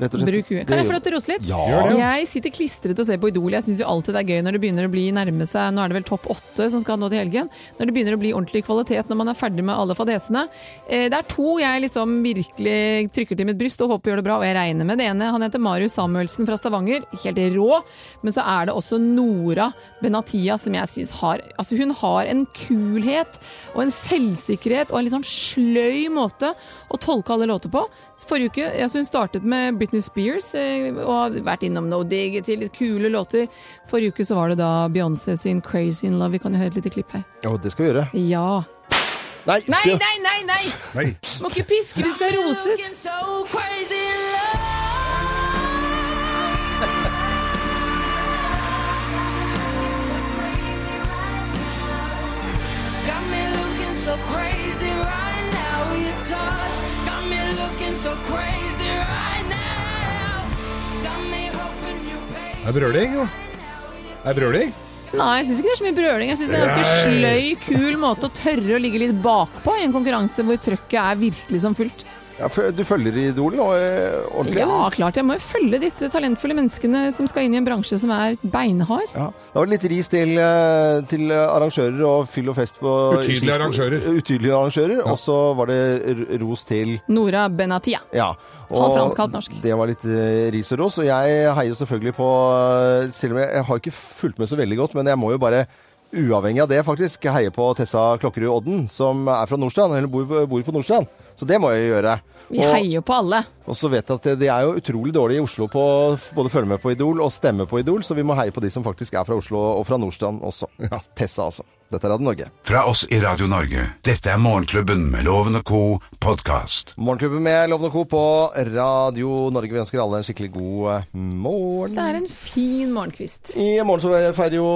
rett og slett. Bruk Det huet. Kan jeg gjør- få lov til å rose litt? Ja. Gjør det. Jeg sitter klistret og ser på Idol. Jeg syns jo alltid det er gøy når det begynner å bli nærme seg Nå er det vel topp åtte som skal nå til helgen. Når det begynner å bli ordentlig kvalitet når man er ferdig med alle fadesene. Eh, Det er to jeg liksom virkelig trykker til mitt bryst og håper gjør det bra, og jeg regner med det ene. Han heter Marius Samuelsen fra Stavanger. Helt rå. Men så er det også Nora Benatia som jeg syns har Altså, hun har en kulhet og en selvsikkerhet og en litt sånn sløy måte å tolke alle låter på. Forrige uke jeg synes hun startet med Britney Spears eh, og har vært innom No Dig til litt kule låter. Forrige uke så var det da Beyoncé sin Crazy in Love. Vi kan jo høre et lite klipp her. Ja, det skal vi gjøre. Ja. Nei! Nei, ikke- nei, nei! nei! Nei. Må ikke piske, du skal roses. Looking so crazy in love. Got me looking So crazy right now, your touch got me looking so crazy Det er brøling, jo. Det er brøling. Nei, jeg syns ikke det er så mye brøling. Jeg syns det er en ganske sløy, kul måte å tørre å ligge litt bakpå i en konkurranse hvor trøkket er virkelig som fullt. Ja, for du følger Idol nå eh, ordentlig? Ja, eller? klart. Jeg må jo følge disse talentfulle menneskene som skal inn i en bransje som er beinhard. Ja. Da var det litt ris til, eh, til arrangører og fyll og fest på Utydelige skispor- arrangører. Utydelige arrangører. Og så var det r- ros til Nora Benatia. Ja. Halvt fransk, halvt norsk. Det var litt eh, ris og ros. Og jeg heier jo selvfølgelig på eh, Selv om jeg, jeg har ikke fulgt med så veldig godt, men jeg må jo bare Uavhengig av det, faktisk, heie på Tessa Klokkerud Odden, som er fra Nordstrand, eller bor, bor på Nordstrand. Så det må jeg jo gjøre. Vi heier jo på alle. og så vet jeg at det, det er jo utrolig dårlig i Oslo på å f- både følge med på Idol og stemme på Idol, så vi må heie på de som faktisk er fra Oslo og fra Nordstrand også. Tessa, altså. Dette er Radio Norge. Fra oss i Radio Norge, dette er Morgenklubben med Loven og co. podkast. Morgenklubben med Lovende Co. på Radio Norge. Vi ønsker alle en skikkelig god eh, morgen. Det er en fin morgenkvist. I morgen så feirer jo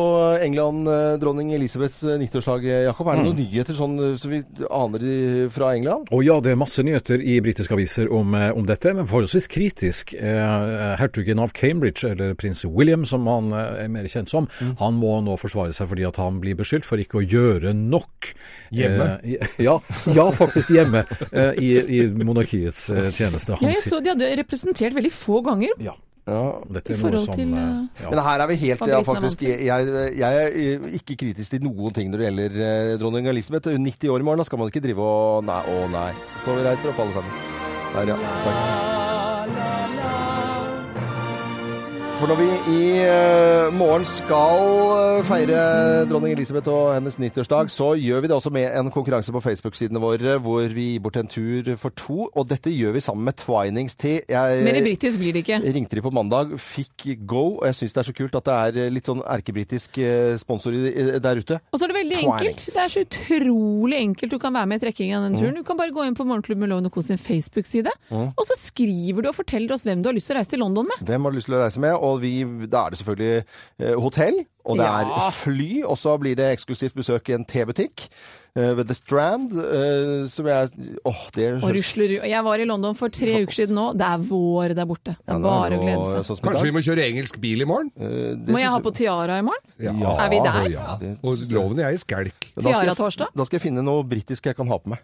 England eh, dronning Elisabeths eh, 90-årsdag. eh, Jakob, er det noen nyheter sånn eh, som vi aner i- fra England? Og ja, det er masse nyheter i britiske aviser om, eh, om dette, men forholdsvis kritisk. Eh, hertugen av Cambridge, eller prins William som han eh, er mer kjent som, han må nå forsvare seg fordi at han blir beskyldt for ikke å gjøre nok. Hjemme? Eh, i- ja, ja, faktisk hjemme eh, i, i monarkiets eh, tjeneste. Ja, Han jeg sier- så de hadde representert veldig få ganger. ja, Ja. I dette er noe forhold som til, eh, ja. Men her er vi helt ja, Favoritten er faktisk jeg, jeg jeg er eh, ikke kritisk til noen ting når det gjelder eh, dronning Elisabeth. Hun er 90 år i morgen, da skal man ikke drive og Nei, å nei. Så står vi og reiser opp alle sammen. Der, ja. Takk. For når vi i eh, morgen skal eh, feire dronning Elisabeth og hennes 90-årsdag, så gjør vi det også med en konkurranse på Facebook-sidene våre hvor vi gir bort en tur for to. Og dette gjør vi sammen med Twinings Tea. Jeg- Mer britisk blir det ikke. jeg ringte de på mandag, fikk go, og jeg syns det er så kult at det er eh, litt sånn erkebritisk eh, sponsor i- i- der ute. Og så er det veldig Twinings. enkelt. Det er så utrolig enkelt du kan være med i trekkingen av den turen. Du kan bare gå inn på Morgenklubben med Loven og Co. sin Facebook-side, og så skriver du og forteller oss hvem du har lyst til å reise til London med. Hvem har du lyst til å reise med? Og vi, da er det selvfølgelig eh, hotell, og det Ja. er fly, og så blir det eksklusivt besøk i en T-butikk eh, ved The Strand, eh, som jeg Åh, det Og rusler ut. Jeg var i London for tre uker siden nå. Det er vår der borte. Det Ja, er nå er bare det å jo glede seg. sånn som i Kanskje dag. vi må kjøre engelsk bil i morgen? Eh, det Må jeg syns ha på tiara i morgen? Ja. Er vi der? og Ja. Det- Og loven jeg er i skjelk. Da skal jeg- Tiara-torsdag? Da skal jeg finne noe britisk jeg kan ha på meg.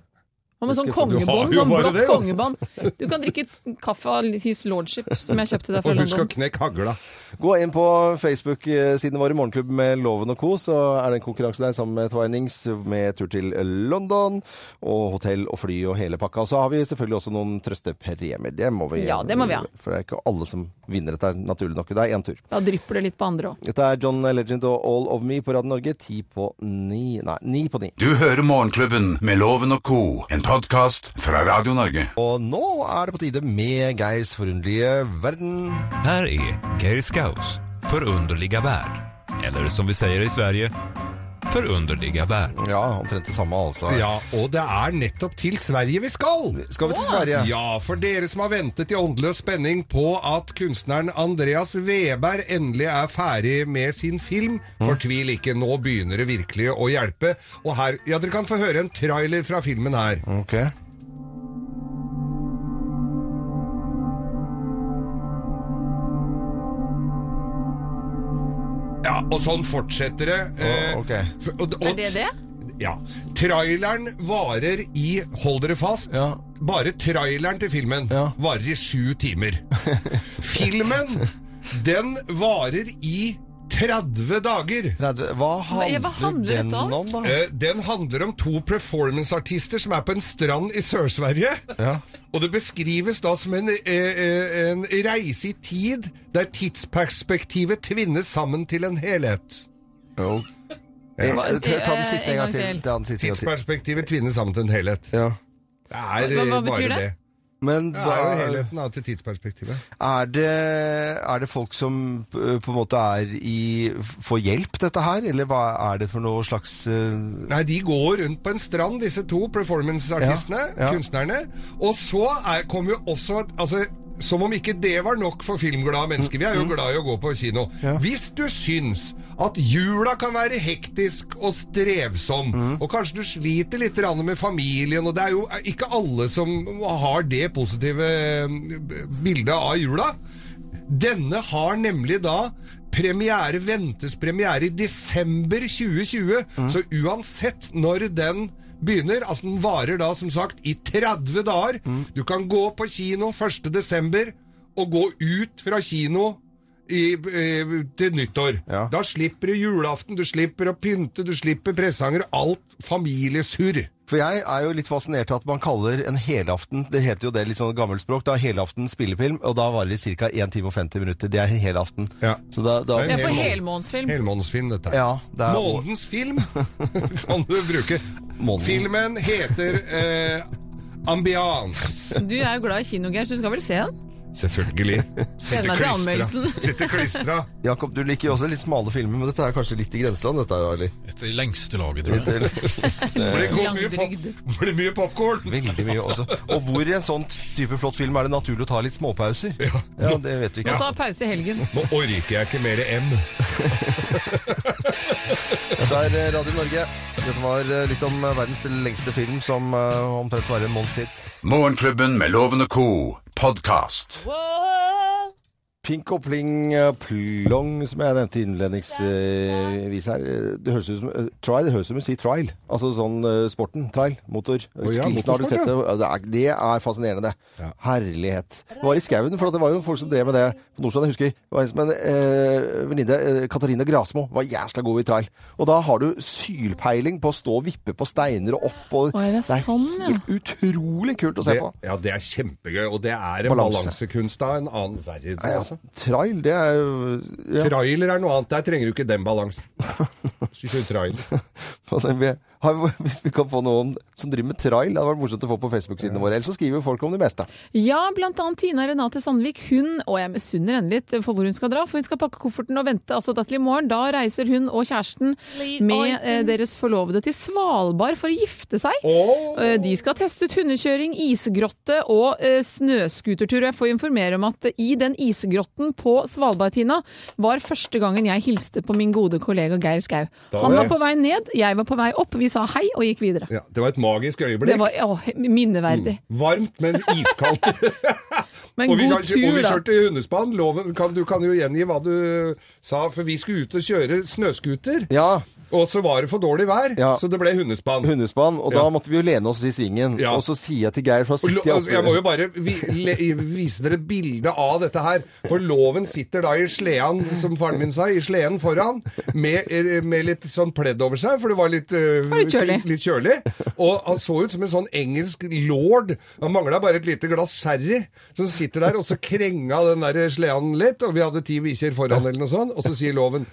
Og med sånn Husker jeg kongebånd, sånn, du har jo sånn bare blått det, jo. kongebånd. Du kan drikke kaffe av His Lordship, som jeg [LAUGHS] kjøpte der fra Og husk å London. knekke hagla. Gå inn på Facebook-siden vår i Morgenklubben med Loven og co., så er det en konkurranse der sammen med Twinings med tur til London og hotell og fly og hele pakka. Og så har vi selvfølgelig også noen trøstepremier. Det må vi, Ja, det må vi ha. For det er ikke alle som vinner dette, naturlig nok. Det er én tur. Da drypper det litt på andre òg. Dette er John Legend og All of Me på Radio Norge. Ti på ni Nei, ni på ni. Du hører Morgenklubben med Loven og co., en podkast fra Radio Norge. Og nå er det på tide med Geirs forunderlige verden. Här är Geir Skaus förunderliga värld. Eller som vi säger i Sverige, förunderliga värld. Ja, omtrent det samme, altså. Ja, og det er nettopp til Sverige vi skal! Skal vi til Sverige? Ja, for dere som har ventet i åndeløs spenning på at kunstneren Andreas Weberg endelig er ferdig med sin film, Mm. fortvil ikke, nå begynner det virkelig å hjelpe. Og her, ja, dere kan få høre en trailer fra filmen her. Ok. Ja, og sånn fortsetter det. eh, Å, ok. f- og, og, Er det det? Ja. Traileren varer i Hold dere fast. Ja. Bare traileren til filmen Ja. varer i sju timer. [LAUGHS] filmen, den varer i 30 dager. Nei, det- Hva handler, hva handler dette den om? om, da? Eh, Den handler om to performanceartister som er på en strand i Sør-Sverige. Og det beskrives da som en, eh, eh, en reise i tid, der tidsperspektivet tvinnes sammen til en helhet. Jo. Eh, ta- Ta den siste en gang til. Ta den siste en gang til. Tidsperspektivet tvinnes sammen til en helhet. Ja. Det er Hva- hva eh, bare betyr det? det. Men Det er jo da, helheten da, til tidsperspektivet. er, det, er det folk som eh, på en måte er i Får hjelp, dette her? Eller hva er det for noe slags eh, Nei, De går rundt på en strand, disse to performanceartistene, Ja, ja. kunstnerne. Og så er, kommer jo også altså, Som om ikke det var nok for filmglade mennesker. Vi er jo glad i å gå på kino. Hvis du syns at jula kan være hektisk og strevsom, og kanskje du sliter litt grann med familien Og det er jo ikke alle som har det positive eh, bildet av jula. Denne har nemlig da Premiere ventes premiere i desember 2020, så uansett når den begynner, altså den varer da som sagt i 30 dager, du kan gå på kino 1. desember og gå ut fra kino i, eh, til nyttår. Da slipper du julaften, du slipper å pynte, du slipper presanger, alt familiesurr. For jeg er jo litt fascinert av at man kaller en helaften Det heter jo det litt sånn gammelt språk. Da helaften spillefilm, og da varer det ca. 1 time og 50 minutter. Det er en helaften. Ja. Så da, da Det er på helmånedsfilm. Helmånedsfilm, dette. Ja, det er Månedens film [LAUGHS] kan du bruke. Måneden. Filmen heter eh, Ambiance. Du er jo glad i kino, Geir, så du skal vel se den? Selvfølgelig. Send meg til anmeldelsen. Sitter [LAUGHS] klistra. Jakob, du liker jo også litt smale filmer, men dette er kanskje litt i grenseland, dette her, eller? Etter lengste laget, tror jeg. [LAUGHS] Blir det god- mye pop- Langdrygd. blir mye popkorn. Veldig mye også. Og hvor i en sånn type flott film er det naturlig å ta litt småpauser? Ja, det vet vi Må ikke. ta pause i helgen. Nå orker jeg ikke mer M. Dette er eh, Radio Norge. Dette var eh, litt om eh, verdens lengste film, som eh, omtrent varer en måneds tid. Morgenklubben med Loven og co. podkast. Pink og pling eh, plong, som jeg nevnte innledningsvis her. eh, Det høres ut som eh, trial, det høres ut som å si trial. Altså sånn eh, sporten. Trial. Motor. ja, Skilsen har du motorsport, sett det. Ja, Det er, det er fascinerende, det. Herlighet. Det var i skauen, for det var jo folk som drev med det på Nordstrand. Jeg husker det var liksom en som en eh, venninne, eh, Katarina Grasmo, var jævla god i trial. Og da har du sylpeiling på å stå og vippe på steiner og opp og Oi, det er sånn, ja. helt utrolig kult å se Det, på. ja, det er kjempegøy, og det er en Balanse. balansekunst av en annen verden. Altså. Trial, det er jo ja. Trailer er noe annet. Der trenger du ikke den [LAUGHS] balansen. Hvis du kjører trailer. Og det- vi- har- [LAUGHS] Hvis vi kan få noen som driver med trail, det hadde vært morsomt å få på Facebook-sidene våre. Ellers så skriver folk om det meste. Ja, blant annet Tina Renate Sandvik. Hun, og jeg misunner henne litt for hvor hun skal dra, for hun skal pakke kofferten og vente altså da til i morgen. Da reiser hun og kjæresten med eh, deres forlovede til Svalbard for å gifte seg. Eh, De skal teste ut hundekjøring, isgrotte og eh, snøskutertur. Jeg får informere om at eh, i den isgrotten på Svalbard, Tina, var første gangen jeg hilste på min gode kollega Geir Skau. Han var på vei ned, jeg var på vei opp. Vi sa hei og gikk videre. Ja, det var et magisk øyeblikk. Det var åh, minneverdig. Varmt, men iskaldt. Men Mm. og, vi, god og tur, vi da. kjørte i hundespann. Loven, kan, du kan jo gjengi hva du sa, for vi skulle ut og kjøre snøskuter. Ja, Og så var det for dårlig vær, Ja. så det ble hundespann. hundespann. Og Ja. da måtte vi jo lene oss i svingen. Ja. Og så sier jeg til Geir, for da Og sitter lo- jeg altså, Jeg må jo oppe bare vi, le, vise dere et bilde av dette her. For loven sitter da i sleden, som faren min sa, i sleden foran, med, eh, med litt sånn pledd over seg, for det var litt, eh, var litt kjølig. litt kjølig. Og han så ut som en sånn engelsk lord. Han mangla bare et lite glass sherry, som sitter der, og så krenga den der sleden litt, og vi hadde ti bikkjer foran, eller noe sånt, og så sier loven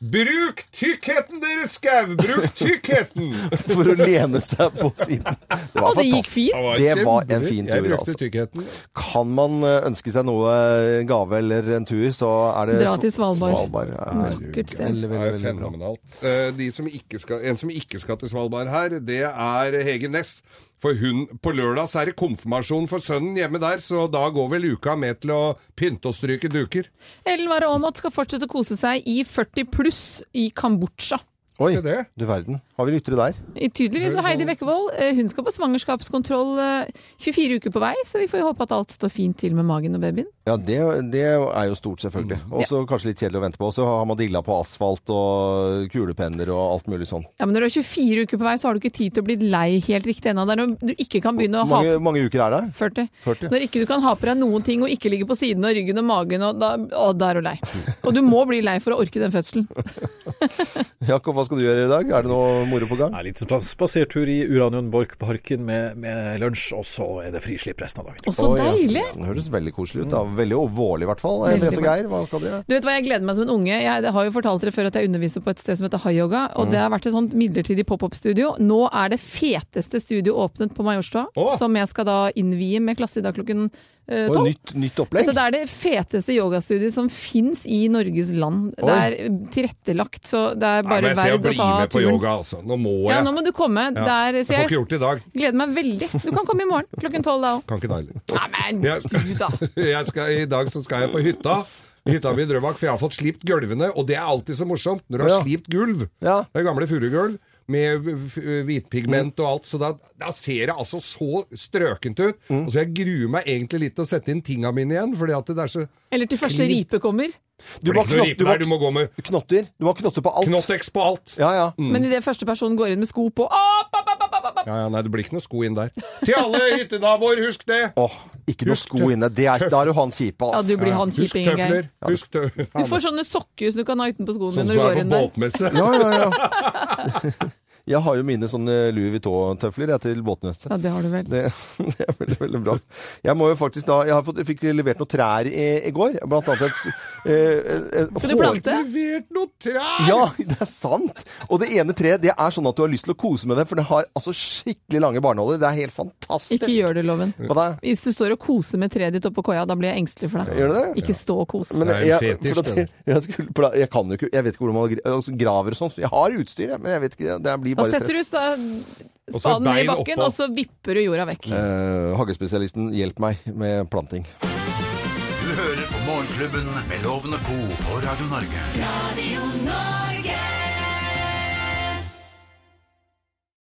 Bruk tykkheten, dere skau! Bruk tykkheten! [LAUGHS] for å lene seg på siden. Det var Og det gikk fantastisk. fint. Det var en fin tur, Jeg brukte altså. tykkheten. Kan man eh, ønske seg noe, en gave eller en tur, så er det Dra Sv- til Svalbard. Svalbard. Ja, Vakkert veldig, sted. Det er jo veldig, veldig bra. fenomenalt. Eh, De som ikke skal, en som ikke skal til Svalbard her, det er Hege Næss. For hun, på lørdag så er det konfirmasjon for sønnen hjemme der, så da går vel uka med til å pynte og stryke duker. Ellen Ware Aamodt skal fortsette å kose seg i 40 pluss i Kambodsja. Se Oi, det. du verden. Har vi lyttere der? I Tydeligvis. Og Heidi Bekkevold eh, hun skal på svangerskapskontroll eh, 24 uker på vei, så vi får jo håpe at alt står fint til med magen og babyen. Ja, det, det er jo stort, selvfølgelig. Mm, Og så kanskje litt kjedelig å vente på. Og så har man dilla på asfalt og kulepenner og alt mulig sånn. Ja, Men når du er 24 uker på vei, så har du ikke tid til å bli lei helt riktig ennå. Det er når du ikke kan begynne å ha Mange, mange uker er det? 40. 40. Når ikke du kan ha på deg noen ting og ikke ligge på siden og ryggen og magen, og da, å, da er du lei. Og du må bli lei for å orke den fødselen. Jakob, hva skal du gjøre i dag? Er det noe moro på gang? En liten plass- spasertur i Uranienborgparken med, med lunsj, og så er det frislipp resten av dagen. Å, så altså. Oi, ja. deilig! Det høres veldig koselig ut. da. Veldig alvorlig i hvert fall. Henriette og Geir, hva skal dere gjøre? Du vet hva, Jeg gleder meg som en unge. Jeg det har jo fortalt dere før at jeg underviser på et sted som heter High-yoga. Mm. Og det har vært et sånt midlertidig pop-up-studio. Nå er det feteste studio åpnet på Majorstua, Å! som jeg skal da innvie med klasse i dag klokken eh, Og tolv. nytt, nytt opplegg? Så det er det feteste yogastudioet som fins i Norges land. Det Oi. er tilrettelagt, så det er bare Nei, men jeg ser å verd å bli ta med på turen. yoga, altså. Nå må jeg. Ja, nå må du komme. Ja. Der, jeg så får ikke jeg gjort det i dag. gleder meg veldig. Du kan komme i morgen klokken tolv da òg. Kan ikke det heller. Neimen, Jeg du da! skal, [LAUGHS] jeg skal, I dag så skal jeg på hytta. Hytta mi i Drøbak, for jeg har fått slipt gulvene, og det er alltid så morsomt når du har Ja. slipt gulv. Ja. Det er gamle furugulv. med f- hvitpigment og alt, så da, da ser det altså så strøkent ut. Og så jeg gruer meg egentlig litt til å sette inn tinga mine igjen, fordi at det er så Eller til første Knip. ripe kommer. Du må, ha Det knott- blir ikke noe ripe du må, der, du må gå med ha knotter. Du må ha knotter på alt. knottex på alt. Ja, ja. Mm. Men idet første personen går inn med sko på opp, opp, opp, opp, opp, opp. Ja, ja, nei, det blir ikke noe sko inn der. [LAUGHS] Til alle hyttenaboer, husk det! Åh, ikke noe sko inne. Det er, da er du han kjipe, Ja, ass. du blir han Husk kjipingen, Geir. tøfler. Husk tøfler. Du får sånne sokker som du kan ha utenpå skoene [LAUGHS] når Sånn som du du går er på inn der. båtmesse. Ja, ja, ja. [LAUGHS] Jeg har jo mine sånne Louis Vuitton-tøfler jeg, til båtmesse. Ja, det har du vel. Det, [LAUGHS] det er veldig, veldig bra. Jeg må jo faktisk da Jeg, har fått, jeg fikk levert noen trær i, i går. Blant annet et, eh, et, Skal du plante? Levert noe trær! Ja, [LAUGHS] det er sant! Og det ene treet det er sånn at du har lyst til å kose med det, for det har altså skikkelig lange barnåler. Det er helt fantastisk. Ikke gjør det, Loven. Hva da? Hvis du står og koser med treet ditt oppå koia, da blir jeg engstelig for deg. Gjør du det? Ikke stå og kose. Men Det er en jeg, fetisj, for at det jeg, [LAUGHS] jeg, skulle, pla- jeg kan jo ikke Jeg vet ikke hvordan man gra- altså, graver og sånn. så Jeg har utstyr, jeg, men jeg vet ikke. Det blir Da bare setter du stress. sta- Og så spaden ned i bein bakken, oppå. og så vipper du jorda vekk. Eh, hagespesialisten, hjelp meg med planting. Du hører på Morgenklubben med Loven og Co. på Radio Norge. Radio Norge.